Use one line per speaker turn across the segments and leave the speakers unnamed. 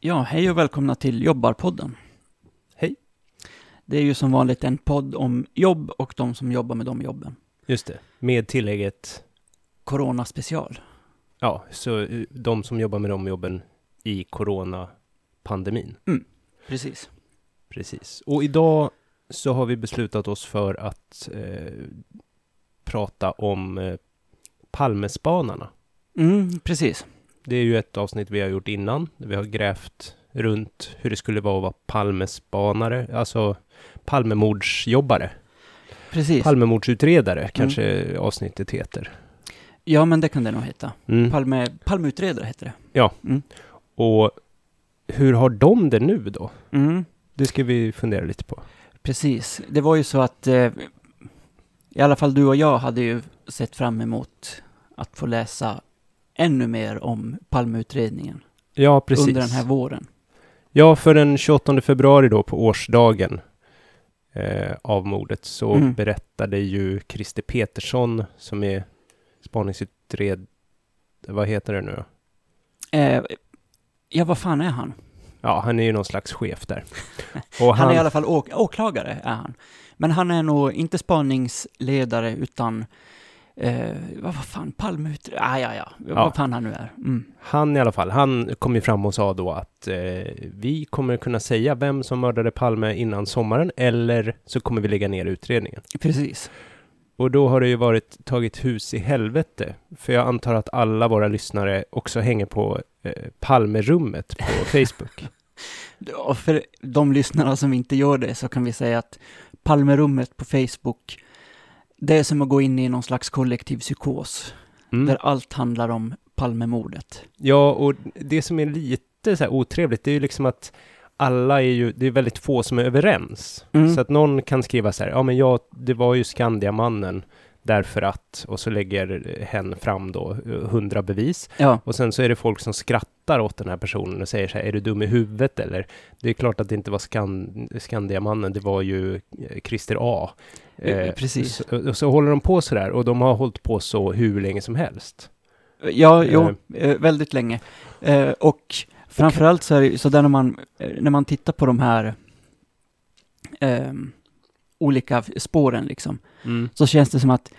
Ja, hej och välkomna till Jobbarpodden.
Hej.
Det är ju som vanligt en podd om jobb och de som jobbar med de jobben.
Just det, med tillägget,
Corona special.
ja, så eh, de som jobbar med de jobben i coronapandemin.
Precis.
Precis. Och idag så har vi beslutat oss för att eh, prata om eh, Palmespanarna.
Mm, precis.
Det är ju ett avsnitt vi har gjort innan. där Vi har grävt runt hur det skulle vara att vara Palmespanare, alltså Palmemordsjobbare.
Precis.
Palmemordsutredare kanske avsnittet heter.
ja, men det kan det nog heta.
Mm.
Palme, Palmeutredare heter det.
Och hur har de det nu då?
Mm,
Det ska vi fundera lite på.
precis. Det var ju så att eh, i alla fall du och jag hade ju sett fram emot att få läsa ännu mer om Palmeutredningen
Ja, precis.
under den här våren.
Ja, för den 28 februari då på årsdagen eh, av mordet så
Mm.
berättade ju Christer Petersson som är spaningsutred... Vad heter det nu då?
Eh, ja, vad fan är han?
Ja, han är ju någon slags chef där. Och
Han är i
han,
alla fall åk åklagare, är han. Men han är nog inte spaningsledare, utan... Eh, vad, vad fan, Palmeutredare? Ah, ja, ja,
Ja.
Vad fan han nu är. Mm.
han i alla fall, han kom ju fram och sa då att eh, vi kommer kunna säga vem som mördade Palme innan sommaren eller så kommer vi lägga ner utredningen.
Precis.
Och då har det ju varit tagit hus i helvete. För jag antar att alla våra lyssnare också hänger på eh, Palmerummet på Facebook.
Och för de lyssnarna som inte gör det så kan vi säga att Palmerummet på Facebook, det är som att gå in i någon slags kollektiv psykos,
Mm.
där allt handlar om Palmemordet.
Ja, och det som är lite så här otrevligt, det är ju liksom att alla är ju, det är väldigt få som är överens.
Mm.
Så att någon kan skriva så här, ja men jag, det var ju Skandiamannen därför att, och så lägger hen fram då eh, hundra bevis.
Ja,
Och sen så är det folk som skrattar åt den här personen och säger så här, är du dum i huvudet eller? Det är klart att det inte var Skan Skandiamannen, det var ju eh, Christer A.
Eh, precis.
Så, och så håller de på så där och de har hållit på så hur länge som helst.
ja jo,
Eh.
eh, väldigt länge. Eh, och Framförallt så är det ju så där när man, eh, när man tittar på de här ehm, olika f- spåren liksom,
Mm.
så känns det som att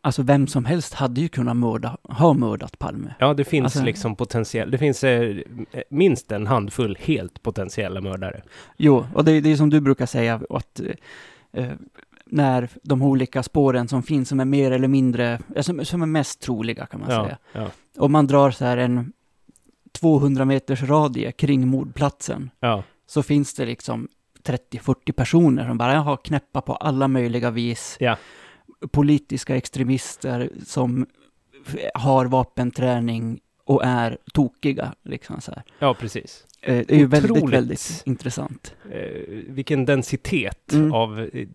alltså vem som helst hade ju kunnat mörda, ha mördat Palme.
Ja, det finns
Alltså-
liksom potentiell, det finns eh, minst en handfull helt potentiella mördare.
Jo, och det, det är som du brukar säga, att eh, eh, när de olika spåren som finns, som är mer eller mindre, eh, som, som är mest troliga kan man
Ja,
säga,
ja,
och man drar så här en 200 meters radie kring mordplatsen,
ja,
så finns det liksom 30-40 personer som bara har knäppa på alla möjliga vis.
Ja.
Politiska extremister som f- har vapenträning och är tokiga. Liksom så här.
ja precis.
Eh, Det är ju väldigt,
Otroligt.
väldigt intressant.
Eh, vilken densitet
Mm.
av eh,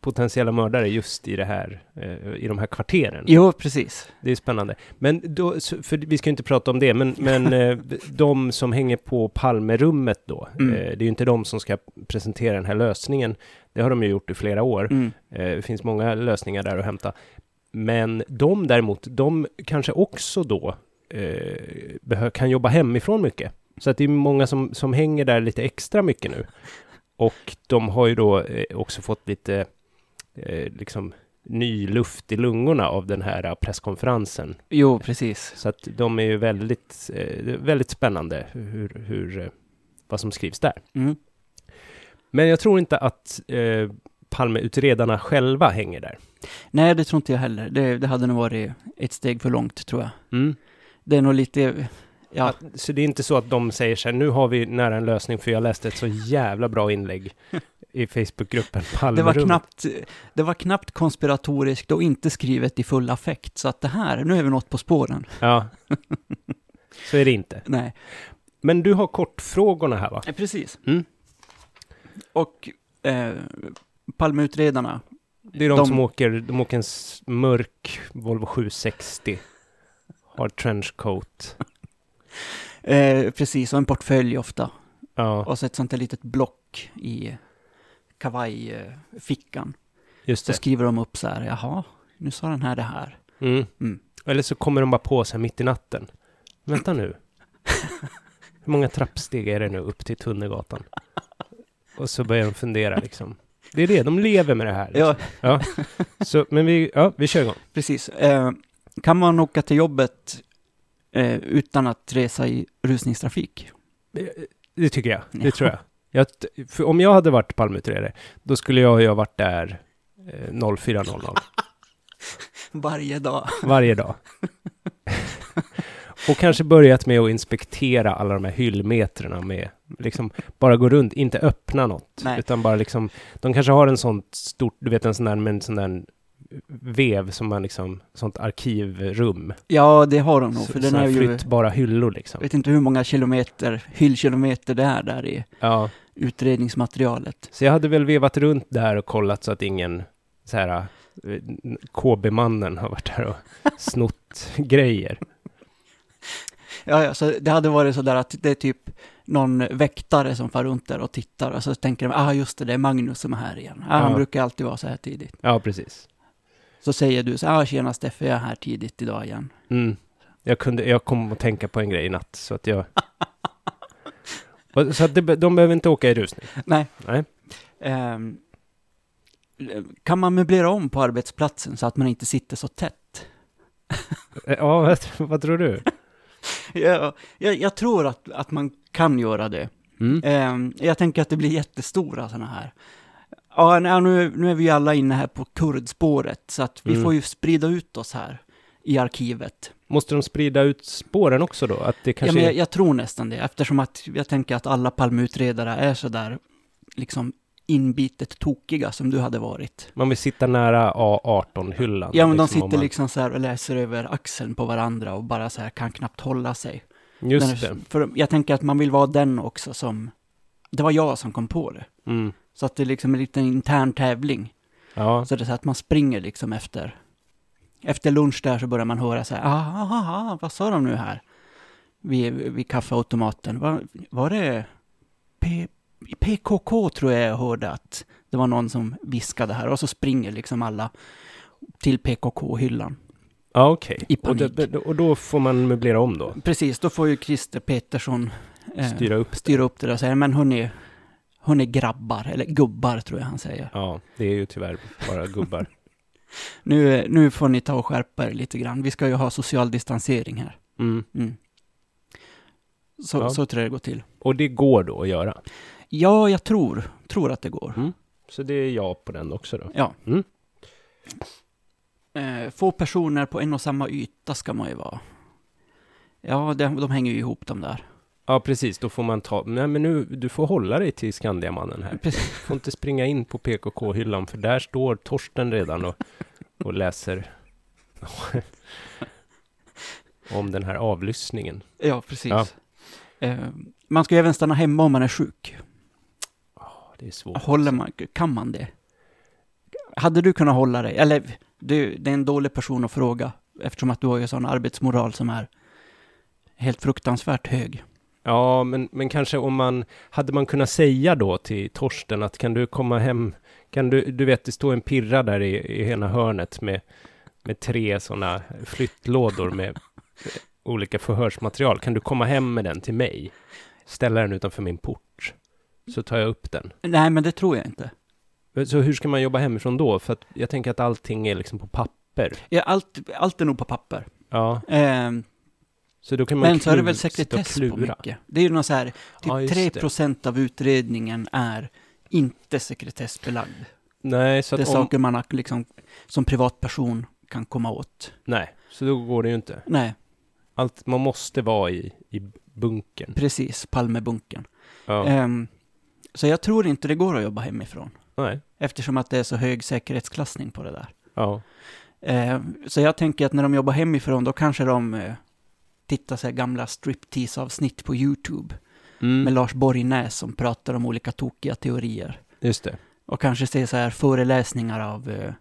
potentiella mördare just i det här, eh, i de här kvarteren.
Jo, precis.
Det är spännande. Men då, så- för vi ska ju inte prata om det, men, men eh, de som hänger på Palmerummet då,
Mm.
eh, det är ju inte de som ska presentera den här lösningen. Det har de ju gjort i flera år.
Mm.
Eh, Det finns många lösningar där att hämta. Men de däremot, de kanske också då eh, behö- kan jobba hemifrån mycket. Så att det är många som, som hänger där lite extra mycket nu. Och de har ju då eh, också fått lite eh, liksom ny luft i lungorna av den här eh, presskonferensen.
Jo, precis.
Så att de är ju väldigt, eh, det är väldigt spännande hur, hur, eh, vad som skrivs där.
Mm.
Men jag tror inte att eh, Palmeutredarna själva hänger där.
Nej, det tror inte jag heller. Det, det hade nog varit ett steg för långt, tror jag.
Mm.
Det är nog lite... Ja,
Att, så det är inte så att de säger så här, nu har vi nära en lösning för jag läste ett så jävla bra inlägg i Facebookgruppen
det, var
Palmerummet.
knappt, det var knappt konspiratoriskt och inte skrivet i full affekt. Så att det här, nu är vi något på spåren.
Ja. Så är det inte.
Nej.
Men du har kortfrågorna här va?
Ja, Eh, precis.
Mm.
Och eh, Palmeutredarna,
Det är de,
De-
som åker, de åker en s- mörk Volvo 760. Har trenchcoat.
eh, precis, och en portfölj ofta.
Ja,
Och så ett sånt där litet block i kavajfickan.
just
Så
det.
skriver de upp så här, jaha, nu sa den här det här.
Mm.
Mm.
Eller så kommer de bara på sig mitt i natten. Vänta nu. Hur många trappsteg är det nu upp till Tunnelgatan? Och så börjar de fundera liksom. Det är det, de lever med det här. Liksom.
Ja,
Så, men vi, ja, vi kör igång.
precis. Eh, kan man åka till jobbet eh, utan att resa i rusningstrafik?
Det- Det tycker jag. Det
Ja.
tror jag. jag t- för om jag hade varit Palmeutredare, då skulle jag ju ha varit där eh, 04.00
Varje dag.
varje dag. Och kanske börjat med att inspektera alla de här hyllmetrarna med, liksom, bara gå runt, inte öppna något,
Nej.
utan bara liksom, de kanske har en sån stort, du vet en sån där, med en sån där vev som man liksom, sånt arkivrum,
Ja, det har de nog,
så,
för
för
den är ju...
flyttbara hyllor liksom.
Jag vet inte hur många kilometer, hyllkilometer det är där i
Ja.
utredningsmaterialet.
Så jag hade väl vevat runt där och kollat så att ingen så här eh, KB-mannen har varit där och snott grejer.
Ja, ja, så det hade varit sådär att det är typ någon väktare som far runt där och tittar och så tänker de, ah just det, det är Magnus som är här igen. Ah, Han
Ja.
brukar alltid vara så här tidigt.
Ja, precis.
Så säger du så ah tjena Steffe, jag är här tidigt idag igen.
Mm. Jag, kunde, jag kom att tänka på en grej i natt, så att jag... Och- Så att det, be- de behöver inte åka i rusning.
Nej.
Nej.
Ehm, kan man möblera om på arbetsplatsen så att man inte sitter så tätt?
Eh, Ja, vad, vad tror du?
Ja, jag, jag tror att, att man kan göra det.
Mm.
Ehm, jag tänker att det blir jättestora sådana här. Ja, nej, nu, nu är vi ju alla inne här på kurdspåret, så att vi
Mm.
får ju sprida ut oss här i arkivet.
Måste de sprida ut spåren också då? Att det kanske...
Ja, men
är-
jag, jag tror nästan det, eftersom att jag tänker att alla palmutredare är sådär liksom inbitet tokiga som du hade varit.
Man vill sitta nära A18-hyllan.
Ja, men de
om
sitter
man-
liksom så här och läser över axeln på varandra och bara så här kan knappt hålla sig.
Just
Den-
det.
För jag tänker att man vill vara den också som, det var jag som kom på det.
Mm.
Så att det är liksom en liten intern tävling.
Ja.
Så det är så att man springer liksom efter. Efter lunch där så börjar man höra så här, ah, ah, ah, vad sa de nu här? Vid, vid kaffeautomaten. Var, var det P, PKK tror jag jag hörde att det var någon som viskade här och så springer liksom alla till PKK-hyllan.
Ja, okej.
I
Och,
panik.
det- och då får man möblera om då?
Precis, då får ju Christer Petersson eh, styra.
Styra upp?
upp det där och säga, men hörni, hörni grabbar, eller gubbar tror jag han säger.
Ja, det är ju tyvärr bara gubbar.
Nu, nu får ni ta och skärpa er lite grann, vi ska ju ha social distansering här.
Mm.
Mm. Så,
Ja.
så tror jag det går till.
Och det går då att göra.
Ja, jag tror, tror att det går.
Så det är jag på den också då.
Mm. Ja.
Mm.
Eh, få personer på en och samma yta ska man ju vara. Ja, de, de hänger ju ihop de där.
Ja, precis. Då får man ta... Nej, men nu, du får hålla dig till Skandiamannen här. Du
Precis.
får inte springa in på PKK-hyllan, för där står Torsten redan och, och läser om den här avlyssningen.
Ja, precis.
Ja.
Eh, man ska ju även stanna hemma om man är sjuk.
Ja, det är svårt.
Håller man, kan man det? Hade du kunnat hålla dig? Eller, du, det är en dålig person att fråga, eftersom att du har ju sån arbetsmoral som är helt fruktansvärt hög.
Ja, men, men kanske om man... Hade man kunnat säga då till Torsten att kan du komma hem? Kan du... Du vet, det står en pirra där i, i ena hörnet med, med tre sådana flyttlådor med olika förhörsmaterial. Kan du komma hem med den till mig? Ställa den utanför min port. Så tar jag upp den.
Nej, men det tror jag inte.
Så hur ska man jobba hemifrån då? För att jag tänker att allting är liksom på papper.
Ja, allt, allt är nog på papper.
Ja,
Ehm,
så då kan man
men så är det
klu-
väl
sitta och
sekretess på
klura.
mycket. Det är ju något så här,
Ja,
typ
just det.
3% av utredningen är inte sekretessbelagd.
Nej, så
Det är
att om...
saker man har liksom, som privatperson kan komma åt.
Nej, så då går det ju inte.
Nej,
Allt, man måste vara i, i bunkern.
precis, Palmebunken.
Ja,
Ehm, så jag tror inte det går att jobba hemifrån,
nej.
eftersom att det är så hög säkerhetsklassning på det där.
Ja.
Ehm, så jag tänker att när de jobbar hemifrån, då kanske de eh, tittar så här gamla striptease-avsnitt på YouTube. med
Mm.
Lars Borgnäs som pratar om olika tokiga teorier.
Just det.
Och kanske ser så här föreläsningar av eh,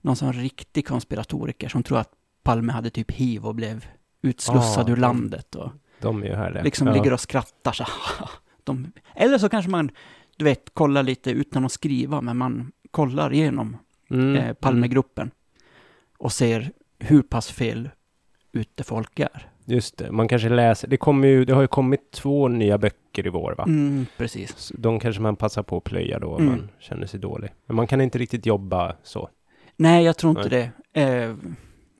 någon sån riktig konspiratoriker som tror att Palme hade typ hiv och blev utslussad
Ah,
ur
de-
landet och
De är ju härliga.
liksom
ja.
ligger och skrattar så här. de, Eller så kanske man, du vet, kollar lite utan att skriva, men man kollar igenom
mm.
eh, Palmegruppen och ser hur pass fel ute folk är.
Just det, man kanske läser. Det, kommer ju, det har ju kommit två nya böcker i vår, va?
Mm, precis.
Så De kanske man passar på att plöja då om
Mm.
man känner sig dålig. Men man kan inte riktigt jobba så.
Nej, jag tror inte det. Eh,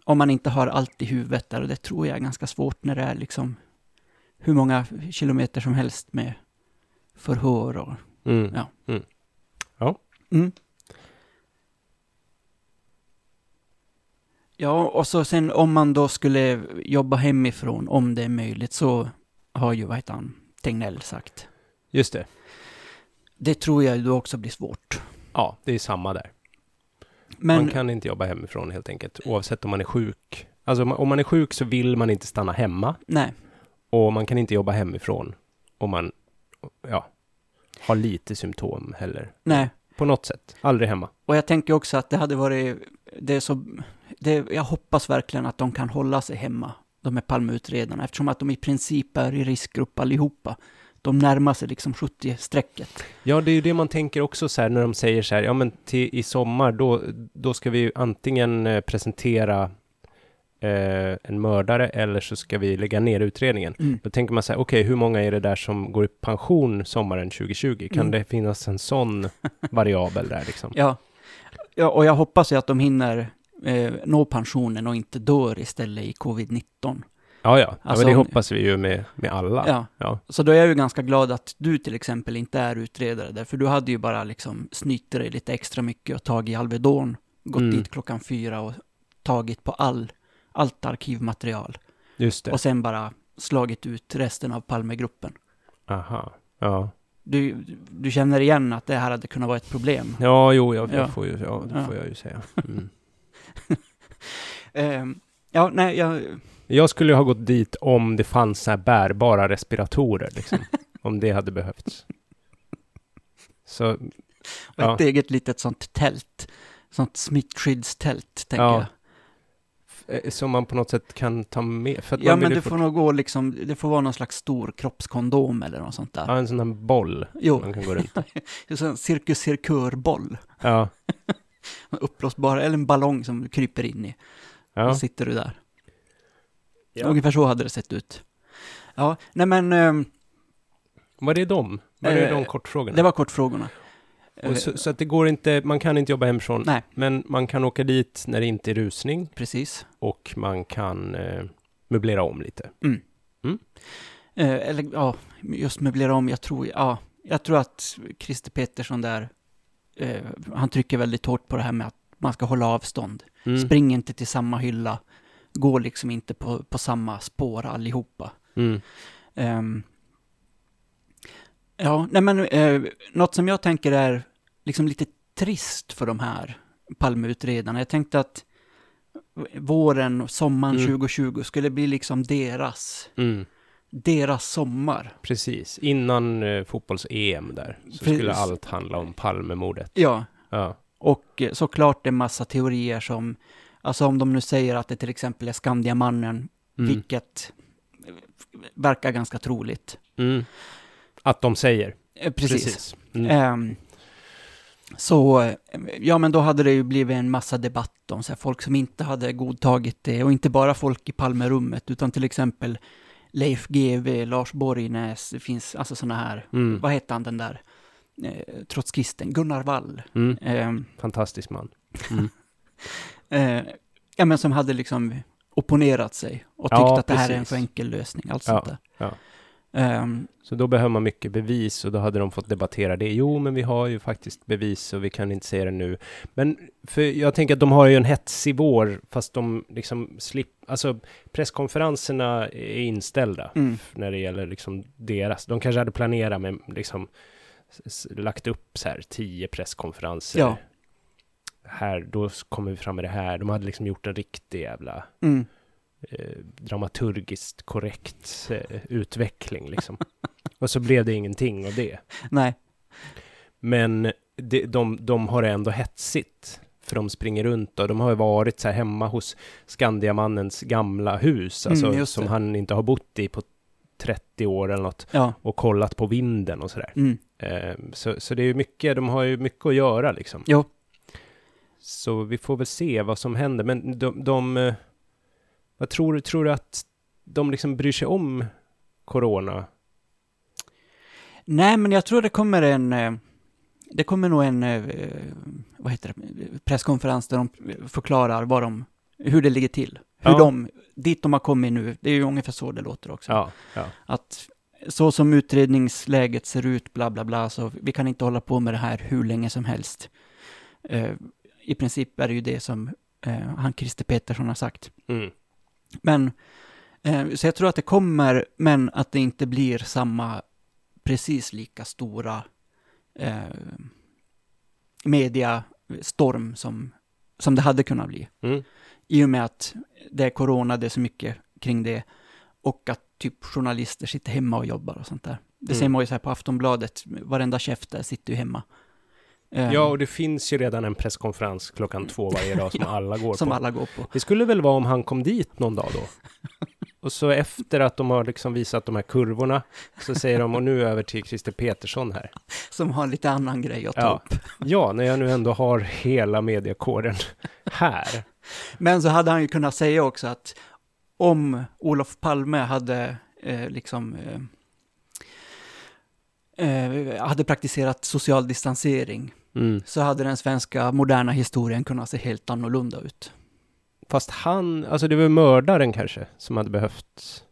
om man inte har allt i huvudet där, och det tror jag är ganska svårt när det är liksom hur många kilometer som helst med förhör och...
Mm.
Ja.
Mm. Ja.
Mm. Ja, och så sen om man då skulle jobba hemifrån, om det är möjligt, så har ju, vad heter han, Tegnell sagt.
Just det.
Det tror jag då också blir svårt.
Ja, det är samma där.
Men,
Man kan inte jobba hemifrån helt enkelt, oavsett om man är sjuk. Alltså om man, om man är sjuk så vill man inte stanna hemma
nej.
och man kan inte jobba hemifrån om man, ja, har lite symptom heller.
Nej.
På något sätt. Aldrig hemma.
Och jag tänker också att det hade varit, det är så, det, jag hoppas verkligen att de kan hålla sig hemma, de här Palmeutredarna, eftersom att de i princip är i riskgrupp allihopa. De närmar sig liksom 70-strecket.
Ja, det är ju det man tänker också så här när de säger så här, ja men till, i sommar då, då ska vi ju antingen eh, presentera eh, en mördare eller så ska vi lägga ner utredningen.
Mm.
Då tänker man så här, okej, hur många är det där som går i pension sommaren 2020? Kan
Mm.
det finnas en sån variabel där liksom?
Ja. ja, och jag hoppas ju att de hinner eh, nå pensionen och inte dör istället i covid-19.
Ja, ja, ja
Alltså,
men det
om-
hoppas vi ju med, med alla.
Ja.
Ja.
Så då är jag ju ganska glad att du till exempel inte är utredare där, för du hade ju bara liksom snytt dig lite extra mycket och tagit Alvedon, gått
Mm.
dit klockan fyra och tagit på all, allt arkivmaterial.
Just det.
Och sen bara slagit ut resten av Palmegruppen.
Aha. Ja,
Du, du känner igen att det här hade kunnat vara ett problem.
ja jo, jag,
Ja.
jag får ju, ja, det
Ja.
får jag ju säga. Mm.
Ehm, ja, nej, jag...
Jag skulle ju ha gått dit om det fanns så här bärbara respiratorer, liksom. om det hade behövts. Så,
och
Ja.
Ett eget litet sånt tält. Sånt smittskyddstält, tänker
Ja,
jag.
eh, som man på något sätt kan ta med. För att
Ja,
man vill
men
ju
det
fort-
får nog gå liksom... Det får vara någon slags stor kroppskondom eller något sånt där.
Ja, en sån här boll
Jo,
man kan gå runt.
en sån cirkus cirkörboll.
Ja,
Uppblåsbar, eller en ballong som du kryper in i. Då
ja.
sitter du där.
Ja.
Ungefär så hade det sett ut. Ja, nej men... ehm,
Var det de? Var det
Eh,
de kortfrågorna?
Det var kortfrågorna. Eh,
Och så, så att det går inte, man kan inte jobba hemifrån.
Nej.
Men man kan åka dit när det inte är rusning
Precis.
och man kan eh, möblera om lite.
Eh, eller ja, just möblera om, jag tror, ja, jag tror att Christer Petersson där, eh, han trycker väldigt hårt på det här med att man ska hålla avstånd.
Mm.
Spring inte till samma hylla, gå liksom inte på, på samma spår allihopa.
Mm.
Ehm, ja, nej men eh, något som jag tänker är liksom lite trist för de här Palmeutredarna. Jag tänkte att våren och sommaren
Mm.
2020 skulle bli liksom deras,
Mm.
deras sommar.
Precis, innan eh, fotbolls-EM där, så
Precis.
skulle allt handla om Palmemordet.
Ja,
Ja.
och eh, såklart en massa teorier som, alltså om de nu säger att det till exempel är Skandiamannen,
Mm.
vilket eh, verkar ganska troligt.
Mm. Att de säger.
Eh, Precis.
Mm.
Ehm, så, eh, ja men då hade det ju blivit en massa debatt om så här, folk som inte hade godtagit det och inte bara folk i Palmerummet utan till exempel Leif GW, Lars Borgnäs, det finns alltså sådana här,
Mm.
vad heter han den där eh, trotskisten, Gunnar Wall.
Mm.
Ehm,
Fantastisk man.
eh, ja men som hade liksom opponerat sig och tyckt
Ja,
att det här är en
precis.
för enkel lösning, allt sånt där.
ja.
Ehm,
Så då behöver man mycket bevis och då hade de fått debattera det. Jo, men vi har ju faktiskt bevis och vi kan inte säga det nu. Men för jag tänker att de har ju en hetsig vår, fast de liksom slipp... Alltså presskonferenserna är inställda
Mm.
när det gäller liksom deras. De kanske hade planerat med liksom s- s- lagt upp så här tio presskonferenser.
Ja.
Här, då s- kommer vi fram med det här. De hade liksom gjort en riktig jävla
mm.
eh, dramaturgiskt korrekt eh, utveckling liksom. och så blev det ingenting av det.
Nej,
Men det, de, de har det ändå hetsigt. För de springer runt och de har ju varit så här hemma hos Skandiamannens gamla hus,
Mm,
alltså
just
som
det.
han inte har bott i på 30 år eller något,
ja.
och kollat på vinden och sådär.
Mm.
Eh, så, så det är ju mycket, de har ju mycket att göra liksom.
Jo.
Så vi får väl se vad som händer, men de, de eh, vad tror du, tror du att de liksom bryr sig om corona?
Nej, men jag tror det kommer en... eh, Det kommer nog en, eh, vad heter det, presskonferens där de förklarar vad de, hur det ligger till. Hur
Ja.
de, dit de har kommit nu, det är ju ungefär så det låter också.
Ja, ja.
Att så som utredningsläget ser ut, bla bla bla, så vi kan inte hålla på med det här hur länge som helst. Eh, I princip är det ju det som eh, han Christer Petersson har sagt.
Mm.
Men, eh, så jag tror att det kommer, men att det inte blir samma, precis lika stora eh, mediastorm som, som det hade kunnat bli.
Mm.
I och med att det är corona, det är så mycket kring det, och att typ journalister sitter hemma och jobbar och sånt där. Det ser
Mm.
man ju så här på Aftonbladet, varenda chef där sitter ju hemma. Eh,
ja, och det finns ju redan en presskonferens klockan två varje dag som
Ja,
alla går
Eh, som
på.
alla går på.
Det skulle väl vara om han kom dit någon dag då? Och så efter att de har liksom visat de här kurvorna så säger de och nu över till Christer Petersson här.
Som har lite annan grej att ta
Ja.
upp.
Ja, när jag nu ändå har hela mediekåren här.
Men så hade han ju kunnat säga också att om Olof Palme hade eh, liksom eh, eh, hade praktiserat social distansering
Mm.
så hade den svenska moderna historien kunnat se helt annorlunda ut.
Fast han, alltså det var ju mördaren kanske som hade behövt.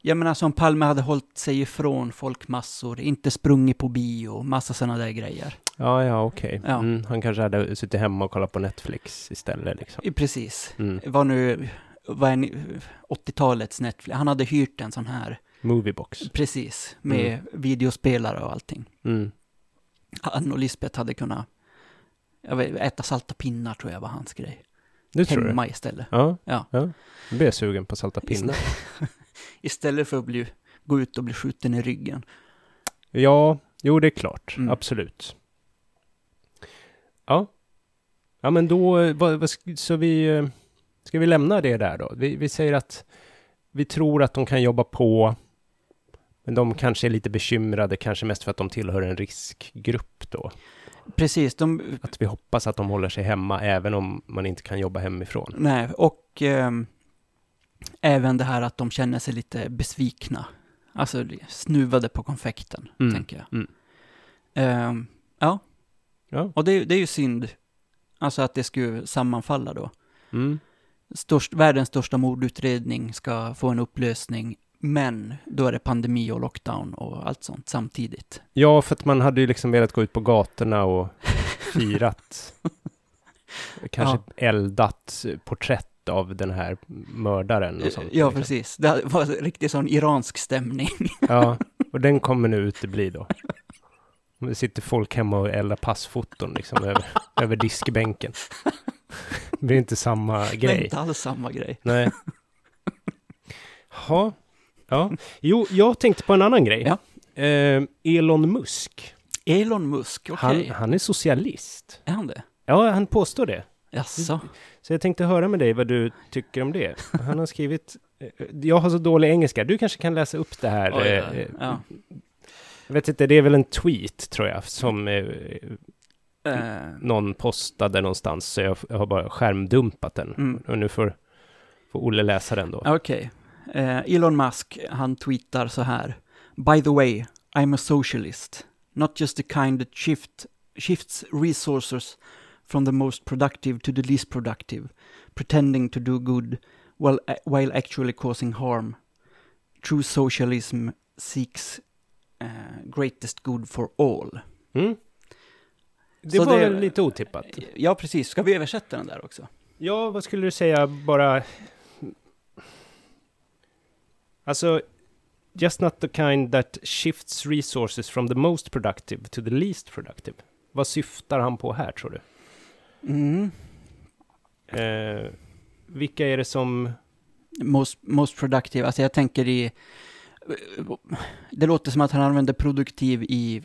Jag menar som Palme hade hållit sig ifrån folkmassor, inte sprungit på bio, massa sådana där grejer.
Ja, ja, okej.
Ja.
Mm, han kanske hade suttit hemma och kollat på Netflix istället liksom.
Eh, Precis.
Mm.
Vad nu, vad är ni- 80-talets Netflix, han hade hyrt en sån här,
Moviebox.
precis, med videospelare och allting.
Mm.
han och Lisbeth hade kunnat jag vet, äta salta pinnar tror jag var hans grej.
Det tror du?
Hemma istället.
Ja.
Ja.
ja. Nu blir jag sugen på salta pinnar.
Istället för att bli, gå ut och bli skjuten i ryggen.
Ja, jo det är klart.
Mm.
Absolut. Ja. Ja men då, eh, vad, vad, sk- så vi, eh, ska vi lämna det där då? Vi, vi säger att vi tror att de kan jobba på, men de kanske är lite bekymrade, kanske mest för att de tillhör en riskgrupp då.
Precis, de,
Att vi hoppas att de håller sig hemma även om man inte kan jobba hemifrån.
nej, och ehm, även det här att de känner sig lite besvikna. Alltså snuvade på konfekten,
Mm,
tänker jag.
mm.
Ehm, ja,
Ja.
och det, det är ju synd. Alltså att det skulle sammanfalla då.
Mm.
störst, världens största mordutredning ska få en upplösning, men då är det pandemi och lockdown och allt sånt samtidigt.
Ja, för att man hade ju liksom velat gå ut på gatorna och firat. Kanske eldat porträtt av den här mördaren och sånt.
ja,
liksom.
precis. Det var riktigt sån iransk stämning.
Ja, och den kommer nu utebli då. Och Det sitter folk hemma och eldar passfoton liksom över, över diskbänken. Det blir inte samma
Det är
grej.
inte alls samma grej.
Nej. Ha. Ja. Jo, jag tänkte på en annan grej.
Ja.
Eh, Elon Musk.
Elon Musk, okej.
Han, han är socialist.
Är han det?
Ja, han påstår det.
Jaså?
Så jag tänkte höra med dig vad du tycker om det. Han har skrivit... eh, Jag har så dålig engelska. Du kanske kan läsa upp det här.
Oj,
eh, eh,
ja.
Jag vet inte, det är väl en tweet tror jag som eh,
Eh,
någon postade någonstans. Så jag, jag har bara skärmdumpat den.
Mm.
Och nu får, får Olle läsa den då.
Okej. Eh, Elon Musk, han tweetar så här. By the way, I'm a socialist. Not just the kind that shift, shifts resources from the most productive to the least productive, pretending to do good while, eh, while actually causing harm. True socialism seeks eh, greatest good for all.
Mm. Det
Så
var
det-
väl lite otippat.
Ja, precis. Ska vi översätta den där också?
Ja, vad skulle du säga bara... Alltså, just not the kind that shifts resources from the most productive to the least productive. Vad syftar han på här, tror du?
Mm.
Eh, vilka är det som...
most, most productive, alltså jag tänker i... Det låter som att han använder produktiv i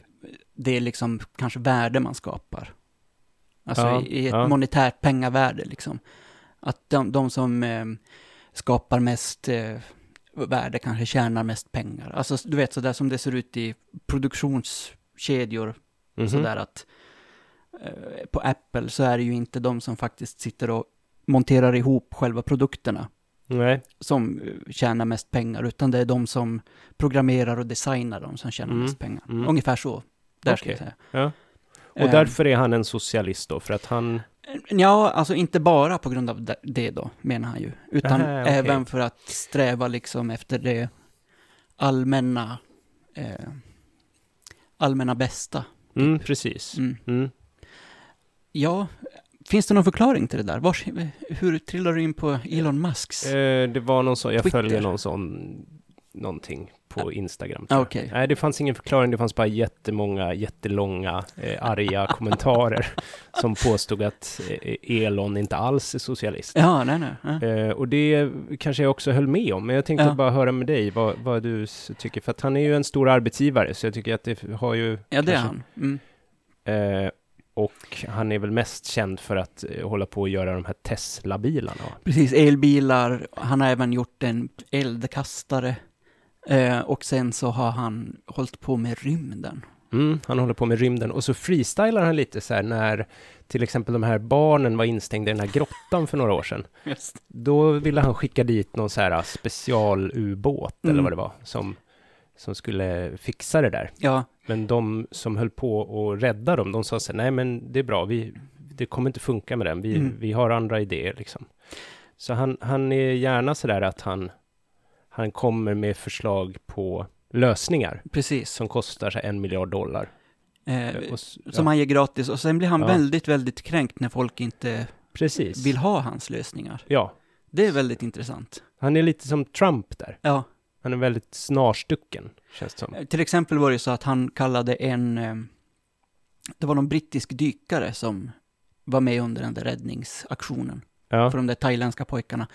det liksom kanske värde man skapar. Alltså
Ja,
i, i ett
ja.
monetärt pengavärde liksom. Att de, de som eh, skapar mest eh, värde kanske tjänar mest pengar. Alltså du vet sådär som det ser ut i produktionskedjor
Mhm.
Sådär att eh, på Apple så är det ju inte de som faktiskt sitter och monterar ihop själva produkterna
Nej.
som eh, tjänar mest pengar, utan det är de som programmerar och designar dem som tjänar
Mm,
mest pengar.
mm.
Ungefär så. Där ska jag
Okej.
säga.
Ja. Och
Eh,
därför är han en socialist då, för att han...
Ja, alltså inte bara på grund av det- det då, menar han ju. Utan
Aha, okej.
även för att sträva liksom efter det allmänna, eh, allmänna bästa.
Mm, precis.
Mm.
Mm.
Ja, finns det någon förklaring till det där? Vars, hur trillar du in på Elon Musks?
Eh, det var någon sån, jag
Twitter.
följer någon sån, någonting på Instagram.
Ah,
tror jag.
Okej.
Nej, det fanns ingen förklaring, det fanns bara jättemånga, jättelånga, eh, arga kommentarer som påstod att eh, Elon inte alls är socialist.
Ja, nej, nej. ja.
Eh, och det kanske jag också höll med om, men jag tänkte
Ja.
bara höra med dig vad, vad du s- tycker, för att han är ju en stor arbetsgivare, så jag tycker att det har ju...
Ja, det är
kanske-
han. Mm.
Eh, och han är väl mest känd för att eh, hålla på och göra de här Tesla-bilarna. va?
Precis, elbilar. Han har även gjort en eldkastare. Eh, och sen så har han hållit på med rymden.
Mm, han håller på med rymden och så freestylar han lite så här när till exempel de här barnen var instängda i den här grottan för några år sedan. Då ville han skicka dit någon så här ah, specialubåt eller
Mm.
vad det var som, som skulle fixa det där.
Ja,
Men de som höll på att rädda dem, de sa så här, nej men det är bra, vi, det kommer inte funka med den, vi,
Mm.
vi har andra idéer liksom. Så han, han är gärna så där att han, han kommer med förslag på lösningar
precis.
som kostar så här en miljard dollar.
Eh,
Och s-
som han ger gratis. Och sen blir han
Ja.
väldigt, väldigt kränkt när folk inte
Precis.
vill ha hans lösningar.
Ja,
Det är väldigt intressant.
han är lite som Trump där.
Ja,
Han är väldigt snarstucken, känns det som.
eh, till exempel var det ju så att han kallade en... Eh, det var någon brittisk dykare som var med under den där räddningsaktionen.
Ja,
för de där thailändska pojkarna.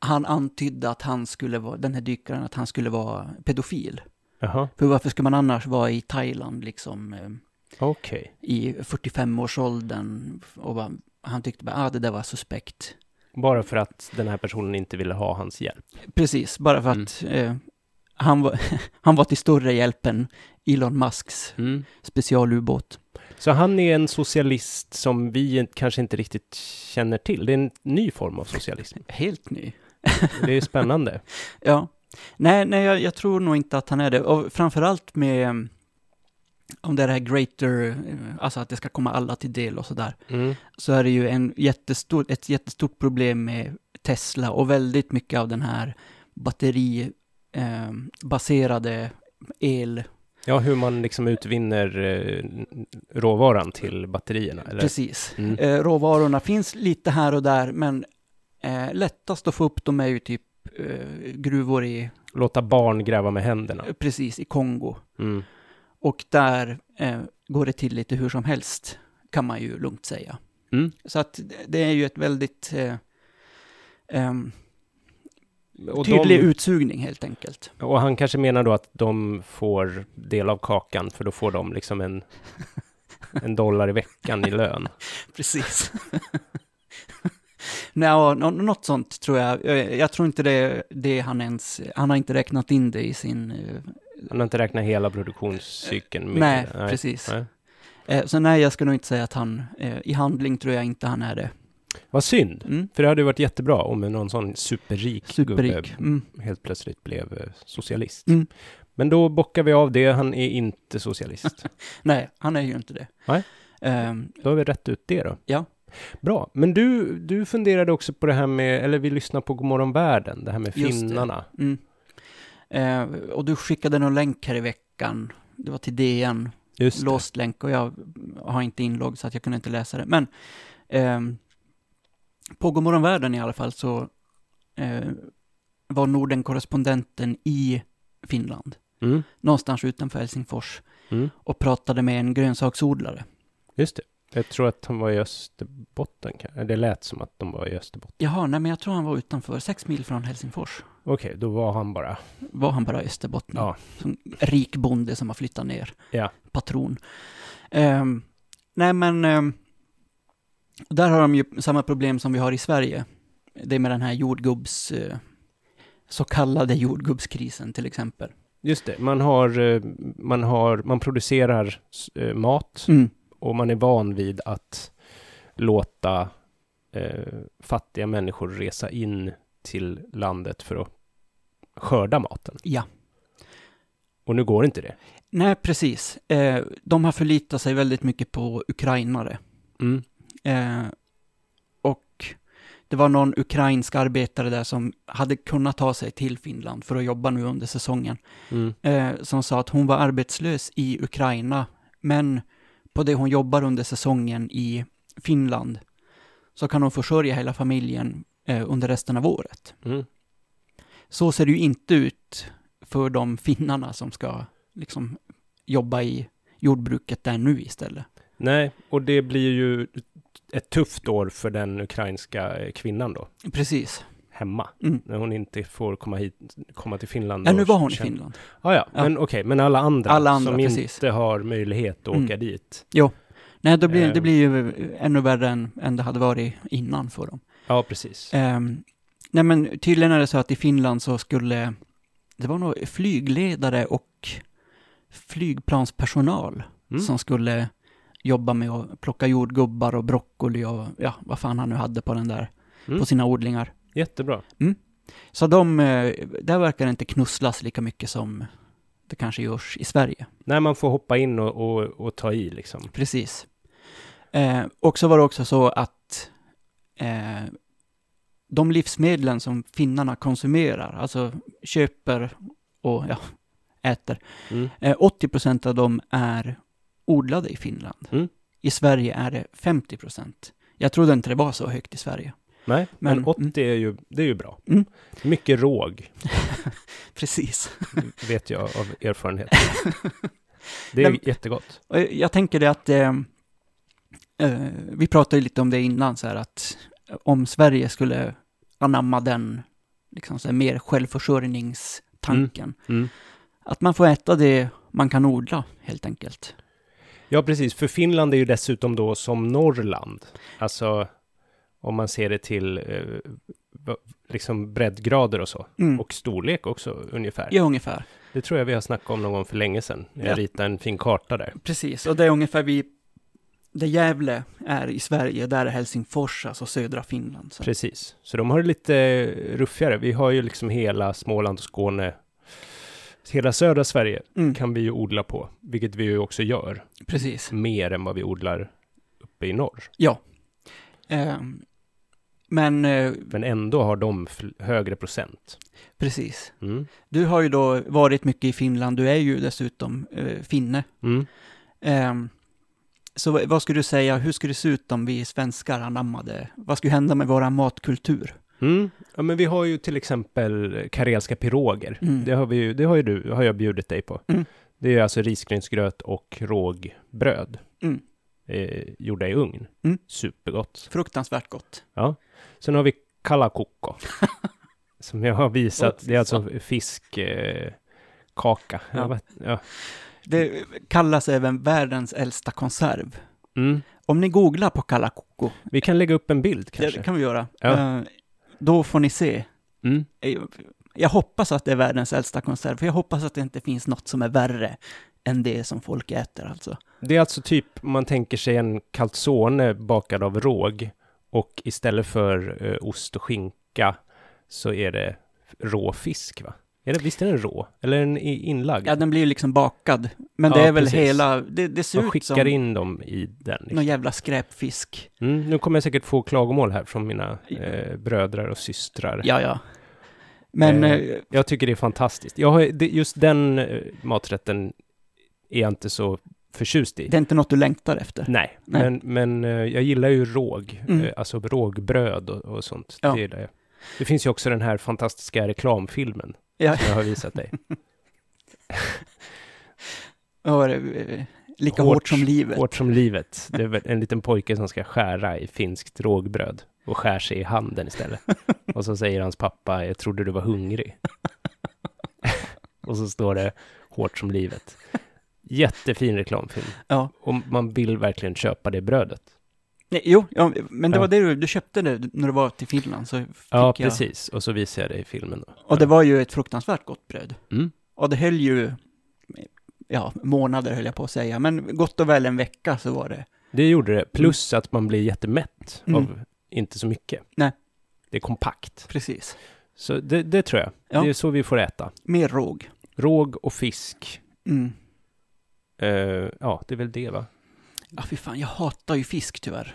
Han antydde att han skulle vara, den här dykaren, att han skulle vara pedofil.
jaha,
För varför skulle man annars vara i Thailand liksom eh,
okej.
i 45-årsåldern? Och bara, han tyckte bara, ah det där var suspekt.
Bara för att den här personen inte ville ha hans hjälp.
Precis, bara för att eh, han, var, han var till större hjälp än Elon Musks
Mm.
specialubåt.
Så han är en socialist som vi kanske inte riktigt känner till. Det är en ny form av socialism.
Helt ny.
Det är spännande.
Ja. Nej, nej jag, jag tror nog inte att han är det. Och framförallt med eh, om det är det här greater, eh, alltså att det ska komma alla till del och sådär,
Mm.
så är det ju en jättestor, ett jättestort problem med Tesla och väldigt mycket av den här batteribaserade el,
Ja, hur man liksom utvinner eh, råvaran till batterierna. Eller?
precis.
Mm.
Eh, Råvarorna finns lite här och där, men eh, lättast att få upp dem är ju typ eh, gruvor i,
Låta barn gräva med händerna.
precis, i Kongo.
Mm.
Och där eh, går det till lite hur som helst, kan man ju lugnt säga.
Mm.
Så att det- det är ju ett väldigt eh, ehm,
Och,
tydlig
de,
utsugning helt enkelt.
och han kanske menar då att de får del av kakan, för då får de liksom en, en dollar i veckan i lön.
Precis. Nej, ja, nå- något sånt tror jag. Eh, Jag tror inte det, det han ens, han har inte räknat in det i sin... eh,
Han har inte räknat hela produktionscykeln. med
Nej,
det.
precis.
nej.
Eh, Så nej, jag skulle nog inte säga att han, eh, i handling tror jag inte han är det.
Vad synd.
Mm.
För det hade ju varit jättebra om någon sån superrik,
Superrik.
gubbe
Mm.
helt plötsligt blev eh, socialist.
Mm.
Men då bockar vi av det, han är inte socialist.
Nej, han är ju inte det.
Nej.
Ehm,
då har vi rätt ut det då.
Ja. Bra.
Men du, du funderade också på det här med, eller vi lyssnar på Godmorgon världen, det här med
Just det.
finnarna.
Mm. Eh, och du skickade någon länk här i veckan. Det var till DN,
Just det.
låst länk och jag har inte inlogg så att jag kunde inte läsa det. Men ehm, på Gomorron Världen i alla fall så eh, var Norden-korrespondenten i Finland,
Mm,
någonstans utanför Helsingfors,
mm,
och pratade med en grönsaksodlare.
just det. Jag tror att han var i Österbotten, kan- det lät som att de var i Österbotten.
Jaha, nej men jag tror han var utanför, sex mil från Helsingfors.
Okej, då var han bara.
var han bara österbottning.
Ja.
Som rik bonde som har flyttat ner.
Ja.
Patron. Ehm, nej men, ehm, där har de ju samma problem som vi har i Sverige. Det är med den här jordgubbs, eh, så kallade jordgubbskrisen till exempel.
Just det, man har, eh, man har, man producerar eh, mat
Mm.
och man är van vid att låta eh, fattiga människor resa in till landet för att skörda maten.
Ja.
Och nu går inte det.
Nej, precis. Eh, de har förlitat sig väldigt mycket på ukrainare.
Mm.
Eh, och det var någon ukrainsk arbetare där som hade kunnat ta sig till Finland för att jobba nu under säsongen.
Mm.
Eh, som sa att hon var arbetslös i Ukraina, men på det hon jobbar under säsongen i Finland så kan hon försörja hela familjen eh, under resten av året.
Mm.
Så ser det ju inte ut för de finnarna som ska liksom jobba i jordbruket där nu istället.
Nej, och det blir ju ett tufft år för den ukrainska eh, kvinnan då,
Precis.
hemma.
Mm.
När hon inte får komma hit, komma till Finland.
Ja,
och
nu var hon i
känna-
Finland.
Ah, ja,
Ja.
men okej, men alla andra,
Alla andra,
som
precis.
inte har möjlighet att
Mm.
åka dit.
Nej, då blir,
Ehm.
det blir ju ännu värre än, än det hade varit innan för dem.
Ja, precis.
Ehm, nej, men tydligen är det så att i Finland så skulle, det var nog flygledare och flygplanspersonal
Mm.
som skulle jobba med att plocka jordgubbar och broccoli och ja, vad fan han nu hade på den där,
Mm.
på sina odlingar.
Jättebra.
Så de, eh, där verkar det inte knusslas lika mycket som det kanske görs i Sverige.
När man får hoppa in och, och, och ta i liksom.
Precis. Eh, och så var det också så att eh, de livsmedlen som finnarna konsumerar, alltså köper och ja, äter,
Mm.
eh, 80% av dem är odlade i Finland.
Mm.
I Sverige är det 50%. Jag trodde inte det var så högt i Sverige.
Nej, men,
Men-
80 är ju, det är ju bra.
Mm.
Mycket råg,
Precis.
vet jag av erfarenhet. Det är
Nej,
jättegott.
Och Jag tänker det att, eh, eh, vi pratade ju lite om det innan, så här att om Sverige skulle anamma den liksom så här, mer självförsörjningstanken,
Mm.
att man får äta det man kan odla helt enkelt.
Ja, precis. För Finland är ju dessutom då som Norrland. Alltså, om man ser det till eh, va- liksom breddgrader och så.
Mm.
Och storlek också, ungefär.
Ja, ungefär.
Det tror jag vi har snackat om någon gång för länge sedan. när Jag
Ja.
ritade en fin karta där.
Precis, och det är ungefär vi, det Gävle är i Sverige, där är Helsingfors, alltså södra Finland. Så.
Precis. Så de har det lite ruffigare. Vi har ju liksom hela Småland och Skåne. Hela södra Sverige
Mm,
kan vi ju odla på, vilket vi ju också gör.
precis.
Mer än vad vi odlar uppe i norr.
Eh, men, eh,
Men ändå har de fl- högre procent.
precis.
Mm.
Du har ju då varit mycket i Finland, du är ju dessutom eh, finne.
Mm.
Ehm, så vad- vad skulle du säga, hur skulle det se ut om vi svenskar anammade, vad skulle hända med våra matkultur?
Mm. Ja, men vi har ju till exempel karelska piroger.
Mm.
Det, har vi ju, det har ju du, har jag bjudit dig på.
Mm.
Det är alltså risgrynsgröt och rågbröd.
Mm.
Eh, gjorda i ugn.
Mm.
Supergott.
Fruktansvärt gott.
Sen har vi kalakukko. som jag har visat.
Åh,
Det är alltså fisk... Eh, kaka.
Ja.
Jag vet- Ja.
Det kallas även världens äldsta konserv.
Mm.
Om ni googlar på kalakoko,
Vi kan lägga upp en bild kanske.
det kan vi göra,
Ja.
Ehm, då får ni se.
Mm.
Eh, Jag hoppas att det är världens äldsta konserv, för jag hoppas att det inte finns något som är värre än det som folk äter alltså.
Det är alltså typ, om man tänker sig en calzone bakad av råg och istället för eh, ost och skinka så är det rå fisk, va? Är det, visst är den rå? Eller är den i- inlagd?
Ja, den blir ju liksom bakad, men
Ja,
det är väl
precis.
hela, det, det ser
man
ut
skickar
som
in dem i den.
någon
Liksom.
jävla skräpfisk.
Mm, nu kommer jag säkert få klagomål här från mina
Ja.
eh, brödrar och systrar.
Ja, ja. Men
Eh,
eh,
Jag tycker det är fantastiskt. Jag har, det, just den eh, maträtten är jag inte så förtjust i.
det är inte något du längtar efter.
Nej,
Nej.
Men, men eh, jag gillar ju råg,
Mm.
eh, alltså rågbröd och, och sånt.
Ja.
Det gillar jag. Det finns ju också den här fantastiska reklamfilmen
Ja.
som jag har visat dig.
Ja, det är, eh, lika
Hårt-
hårt, som livet.
Hårt som livet. Det är väl en liten pojke som ska skära i finskt rågbröd och skär sig i handen istället. Och så säger hans pappa, jag trodde du var hungrig. och så står det hårt som livet. Jättefin reklamfilm.
Ja.
Och man vill verkligen köpa det brödet.
Nej, jo, ja, men det
Ja.
var det du, du köpte det när du var till Finland. Så fick
Ja,
jag,
precis. Och så visar jag dig filmen. Då.
Och det var ju ett fruktansvärt gott bröd.
Mm.
Och det höll ju, ja, månader höll jag på att säga, men gott och väl en vecka så var det.
Det gjorde det. Plus att man blir jättemätt
Mm.
av inte så mycket.
Nej.
Det är kompakt.
Precis.
Så det, det tror jag.
Ja.
Det är så vi får äta.
Mer råg.
Råg och fisk.
Mm.
Eh, ja, det är väl det va?
Ja, fy fan, jag hatar ju fisk tyvärr.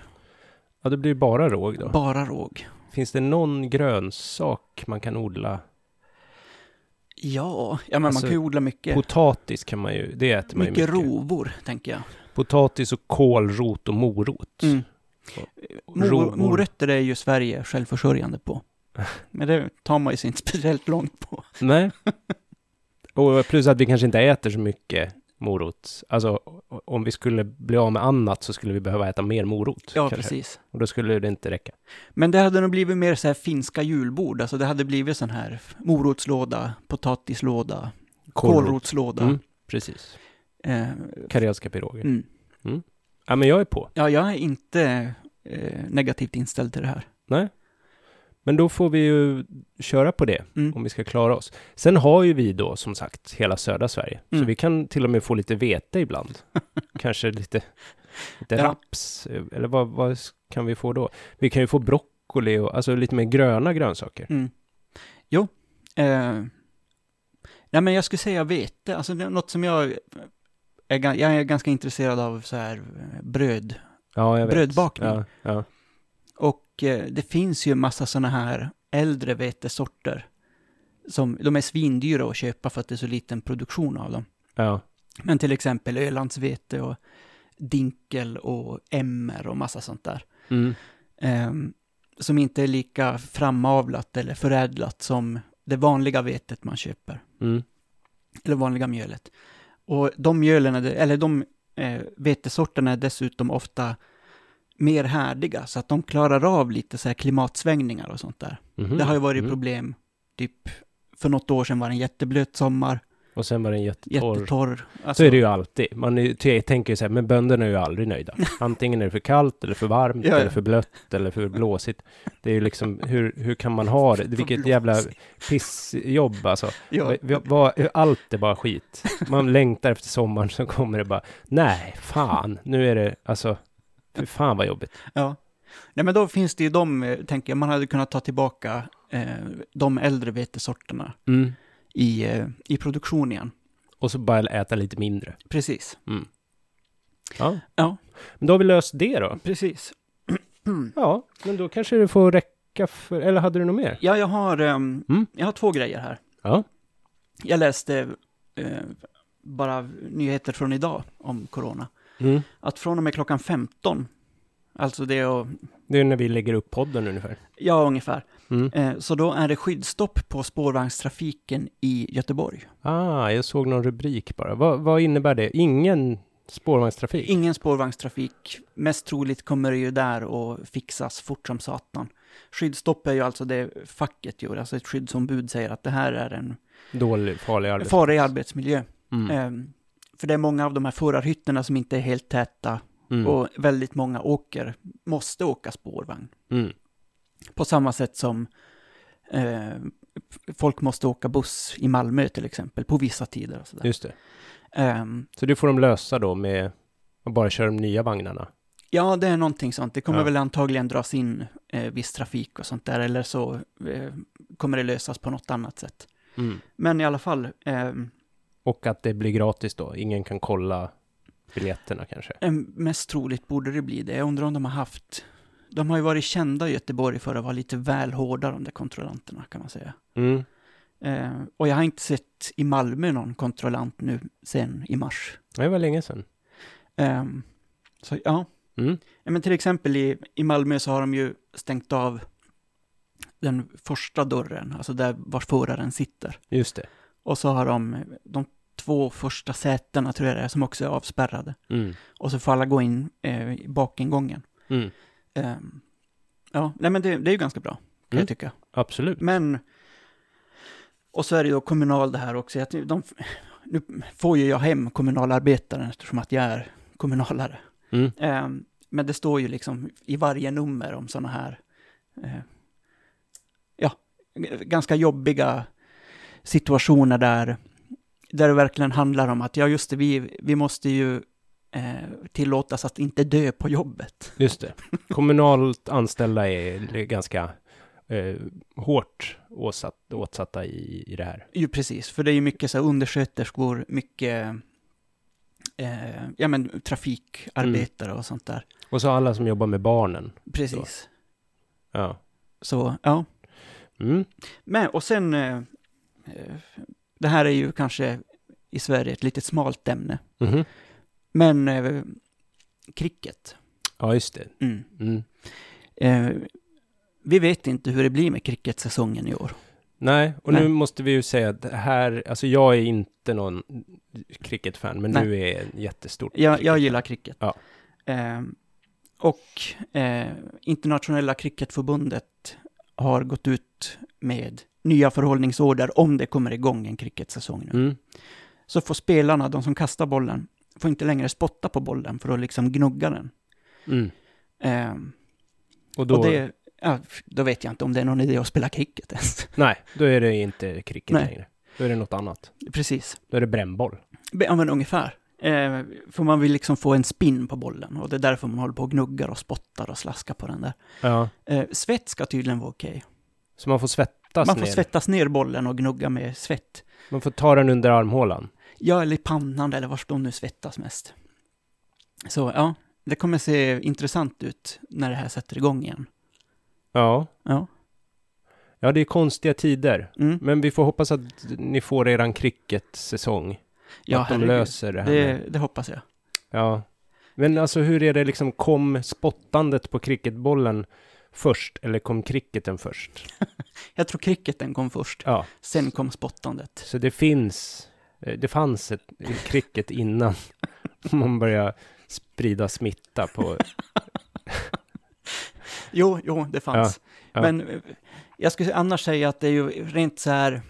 Ja, det blir bara råg då.
Bara råg.
Finns det någon grönsak man kan odla?
Ja, ja men
Alltså,
man kan ju odla mycket.
Potatis kan man ju, det äter man
mycket,
ju mycket.
rovor, tänker jag.
Potatis och kålrot och morot.
Mm.
Rovor.
Mor- morötter är ju Sverige självförsörjande på. Men det tar man ju sig inte speciellt långt på.
Nej. Och plus att vi kanske inte äter så mycket morot. Alltså, o- om vi skulle bli av med annat så skulle vi behöva äta mer morot.
Ja,
kanske.
precis.
Och då skulle det inte räcka.
Men det hade nog blivit mer så här finska julbord. Alltså det hade blivit sån här morotslåda, potatislåda, kålrotslåda.
Mm, precis.
Eh,
Karelska piroger.
mm.
Ja, men jag är på.
Ja, jag är inte eh, negativt inställd till det här.
Nej. Men då får vi ju köra på det
Mm.
om vi ska klara oss. Sen har ju vi då som sagt hela södra Sverige, så
Mm.
vi kan till och med få lite vete ibland. Kanske lite, lite
Ja.
raps, eh, eller vad, vad s- kan vi få då? Vi kan ju få broccoli och alltså lite mer gröna grönsaker.
Mm. Jo. Eh, nej, men jag skulle säga vete. Alltså det är något som jag är, ga- jag är ganska intresserad av så här eh, bröd.
Ja, jag vet.
Brödbakning.
Ja, ja.
Och eh, det finns ju en massa sådana här äldre vetesorter. Som, de är svindyra att köpa för att det är så liten produktion av dem.
ja.
Men till exempel Ölandsvete och dinkel och emmer och massa sånt där.
Mm.
ehm, som inte är lika framavlat eller förädlat som det vanliga vetet man köper,
Mm.
eller vanliga mjölet. Och de mjölen, är, eller de eh, vetesorterna är dessutom ofta mer härdiga, så att de klarar av lite så här klimatsvängningar och sånt där.
Mhm.
Det har ju varit
Mm.
problem, typ för något år sedan var det en jätteblöt sommar,
Och sen var den jättetorr.
jättetorr.
Så
Alltså,
är det ju alltid. Man är, ju- t- tänker ju så här, men bönderna är ju aldrig nöjda. Antingen är det för kallt eller för varmt
Ja, ja.
eller för blött eller för blåsigt. Det är ju liksom, hur, hur kan man ha det? Vilket jävla pissjobb alltså.
Alltså, Ja,
Vi- vi- vad- Allt är bara skit. Man längtar efter sommaren så kommer det bara, nej, fan, nu är det, alltså, för fan vad jobbigt.
ja. Nej men då finns det ju de, eh, tänker jag, man hade kunnat ta tillbaka eh, de äldre vetesorterna i, eh, i produktion igen.
Mm. Och så bara äta lite mindre.
Precis.
Ja.
Ja.
Men då har vi löst det då.
Precis.
Ja, men då kanske det får räcka för, eller hade du något mer?
Ja, jag har, ehm,
Mm.
jag har två grejer här.
Ja.
Jag läste eh, bara nyheter från idag om corona.
Mm.
Att från och med klockan 15, alltså det är
Det är när vi lägger upp podden ungefär.
ja ungefär,
Mm.
eh, så då är det skyddsstopp på spårvagnstrafiken i Göteborg.
Ah, jag såg någon rubrik bara. Vad, vad innebär det? Ingen spårvagnstrafik?
Ingen spårvagnstrafik, mest troligt kommer det ju där att fixas fort som satan. Skyddsstopp är ju alltså det facket gör, alltså ett skyddsombud säger att det här är en
Dålig, farlig arbetsplats.
farlig arbetsmiljö.
Mm.
Ehm, För det är många av de här förarhytterna som inte är helt täta
Mm.
och väldigt många åker, måste åka spårvagn.
Mm.
På samma sätt som eh, f- folk måste åka buss i Malmö till exempel, på vissa tider och sådär.
Just det.
Ehm,
Så det får de lösa då med att bara köra de nya vagnarna.
ja, det är någonting sånt. Det kommer
Ja.
väl antagligen dras in eh, viss trafik och sånt där, eller så eh, kommer det lösas på något annat sätt.
Mm.
Men i alla fall, ehm,
Och att det blir gratis då. Ingen kan kolla biljetterna kanske.
Eh, Mest troligt borde det bli det. Jag undrar om de har haft... De har ju varit kända i Göteborg för att vara lite väl hårda, de där kontrollanterna kan man säga.
Mm.
Eh, och jag har inte sett i Malmö någon kontrollant nu sen i mars.
Det var länge sedan.
Eh, så ja,
Mm.
Eh, men till exempel i, i Malmö så har de ju stängt av den första dörren, alltså där vars föraren sitter.
Just det.
Och så har de eh, de två första sätena, tror jag det är, som också är avspärrade.
Mm.
Och så får alla gå in eh, i bakingången.
Mm.
Ehm, ja, nej men det, det är ju ganska bra, kan
Mm.
jag tycka.
Absolut.
Men, och så är det ju då kommunal det här också. Att de, nu får ju jag hem kommunalarbetaren eftersom att jag är kommunalare.
Mm.
Ehm, men det står ju liksom i varje nummer om sådana här, eh, ja, g- ganska jobbiga situationer där, där det verkligen handlar om att, ja just det, vi, vi måste ju eh, tillåtas att inte dö på jobbet.
Just det. Kommunalt anställda är ganska eh, hårt åsatt, åtsatta i, i det här.
Ju precis, för det är ju mycket så här undersköterskor, mycket eh, ja, men, trafikarbetare och sånt där.
Och så alla som jobbar med barnen.
Precis.
Ja.
Så, ja.
Mm.
Men, och sen, eh, eh, det här är ju kanske i Sverige ett litet smalt ämne,
Mhm.
men eh, cricket.
Ja, just det.
Mm.
Mm.
Eh, vi vet inte hur det blir med cricketsäsongen i år.
Nej, och nu
Nej.
måste vi ju säga att det här, alltså jag är inte någon cricketfan, men
Nej.
nu är jag en jättestort
Jag, jag
cricket-
gillar cricket.
Ja.
Eh, och eh, Internationella cricketförbundet har gått ut med nya förhållningsorder om det kommer igång en cricketsäsong nu.
Mm.
Så får spelarna, de som kastar bollen, får inte längre spotta på bollen för att liksom gnugga den.
Mm.
Eh,
Och då,
Och det, ja, f- då vet jag inte om det är någon idé att spela cricket ens.
nej, då är det inte cricket
Nej.
längre. Då är det något annat.
Precis.
Då är det brännboll.
Be- Ja, men ungefär. Eh, för man vill liksom få en spin på bollen och det är därför man håller på och gnuggar och spottar och slaskar på den där.
Ja.
Eh, svett ska tydligen vara okej.
Så man får svettas
Man får
ner.
svettas ner bollen och gnugga med svett.
Man får ta den under armhålan.
Ja, eller i pannan eller vars de nu svettas mest. Så ja, det kommer se intressant ut när det här sätter igång igen.
Ja.
Ja.
Ja, det är konstiga tider.
Mm.
Men vi får hoppas att ni får eran cricket-säsong.
Ja,
att de
herregud.
löser det här. med-
Det, det hoppas jag.
Ja. Men alltså hur är det liksom, kom spottandet på cricketbollen först eller kom cricketen först?
Jag tror cricketen kom först,
Ja,
sen kom spottandet.
så det finns, eh, det fanns ett cricket innan man började sprida smitta på,
Jo, jo, det fanns.
ja.
Men eh, jag skulle annars säga att det är ju rent så här...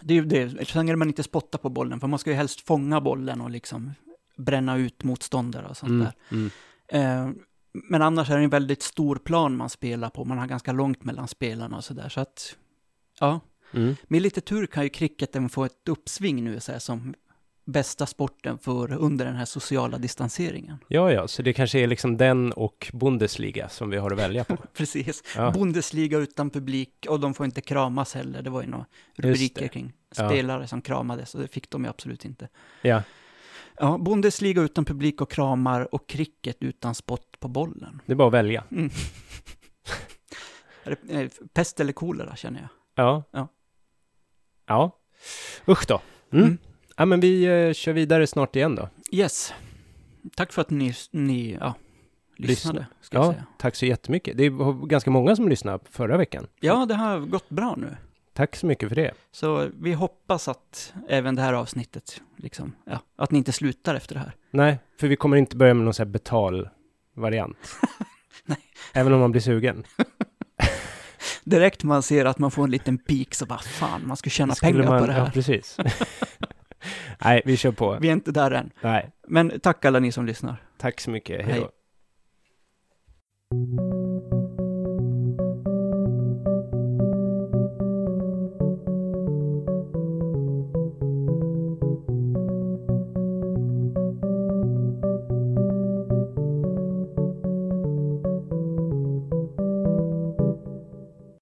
Det är ju det, så länge man inte spottar på bollen, för man ska ju helst fånga bollen och liksom bränna ut motståndare och sånt
mm,
där.
mm,
Eh, men annars är det en väldigt stor plan man spelar på, man har ganska långt mellan spelarna och sådär, så att... Ja,
mm.
med lite tur kan ju cricketen få ett uppsving nu så här, som bästa sporten för under den här sociala distanseringen.
Ja, ja, så det kanske är liksom den och Bundesliga som vi har att välja på.
Precis.
Ja.
Bundesliga utan publik och de får inte kramas heller. Det var ju några
det.
rubriker kring
Ja.
spelare som kramades och det fick de ju absolut inte.
Ja,
Ja, Bundesliga utan publik och kramar och cricket utan spott på bollen.
det är bara att välja.
Mm. Är det, eh, pest eller kolera känner jag.
Ja.
Ja.
Ja. Usch då. Mm.
Mm.
Ja, men vi eh, kör vidare snart igen då.
Yes. Tack för att ni, ni ja, lyssnade. Ska jag
Ja,
säga.
tack så jättemycket. Det var ganska många som lyssnade förra veckan.
ja, det har gått bra nu.
Tack så mycket för det.
Så vi hoppas att även det här avsnittet, liksom, ja, att ni inte slutar efter det här.
Nej, för vi kommer inte börja med någon sån här betalvariant.
Nej.
Även om man blir sugen.
Direkt man ser att man får en liten pik så bara fan, man skulle tjäna
Skulle
pengar
man-
på det
Ja,
här.
precis. Nej, vi kör på.
Vi är inte där än.
Nej,
Men tack alla ni som lyssnar.
tack så mycket. Hej
Hej.
då.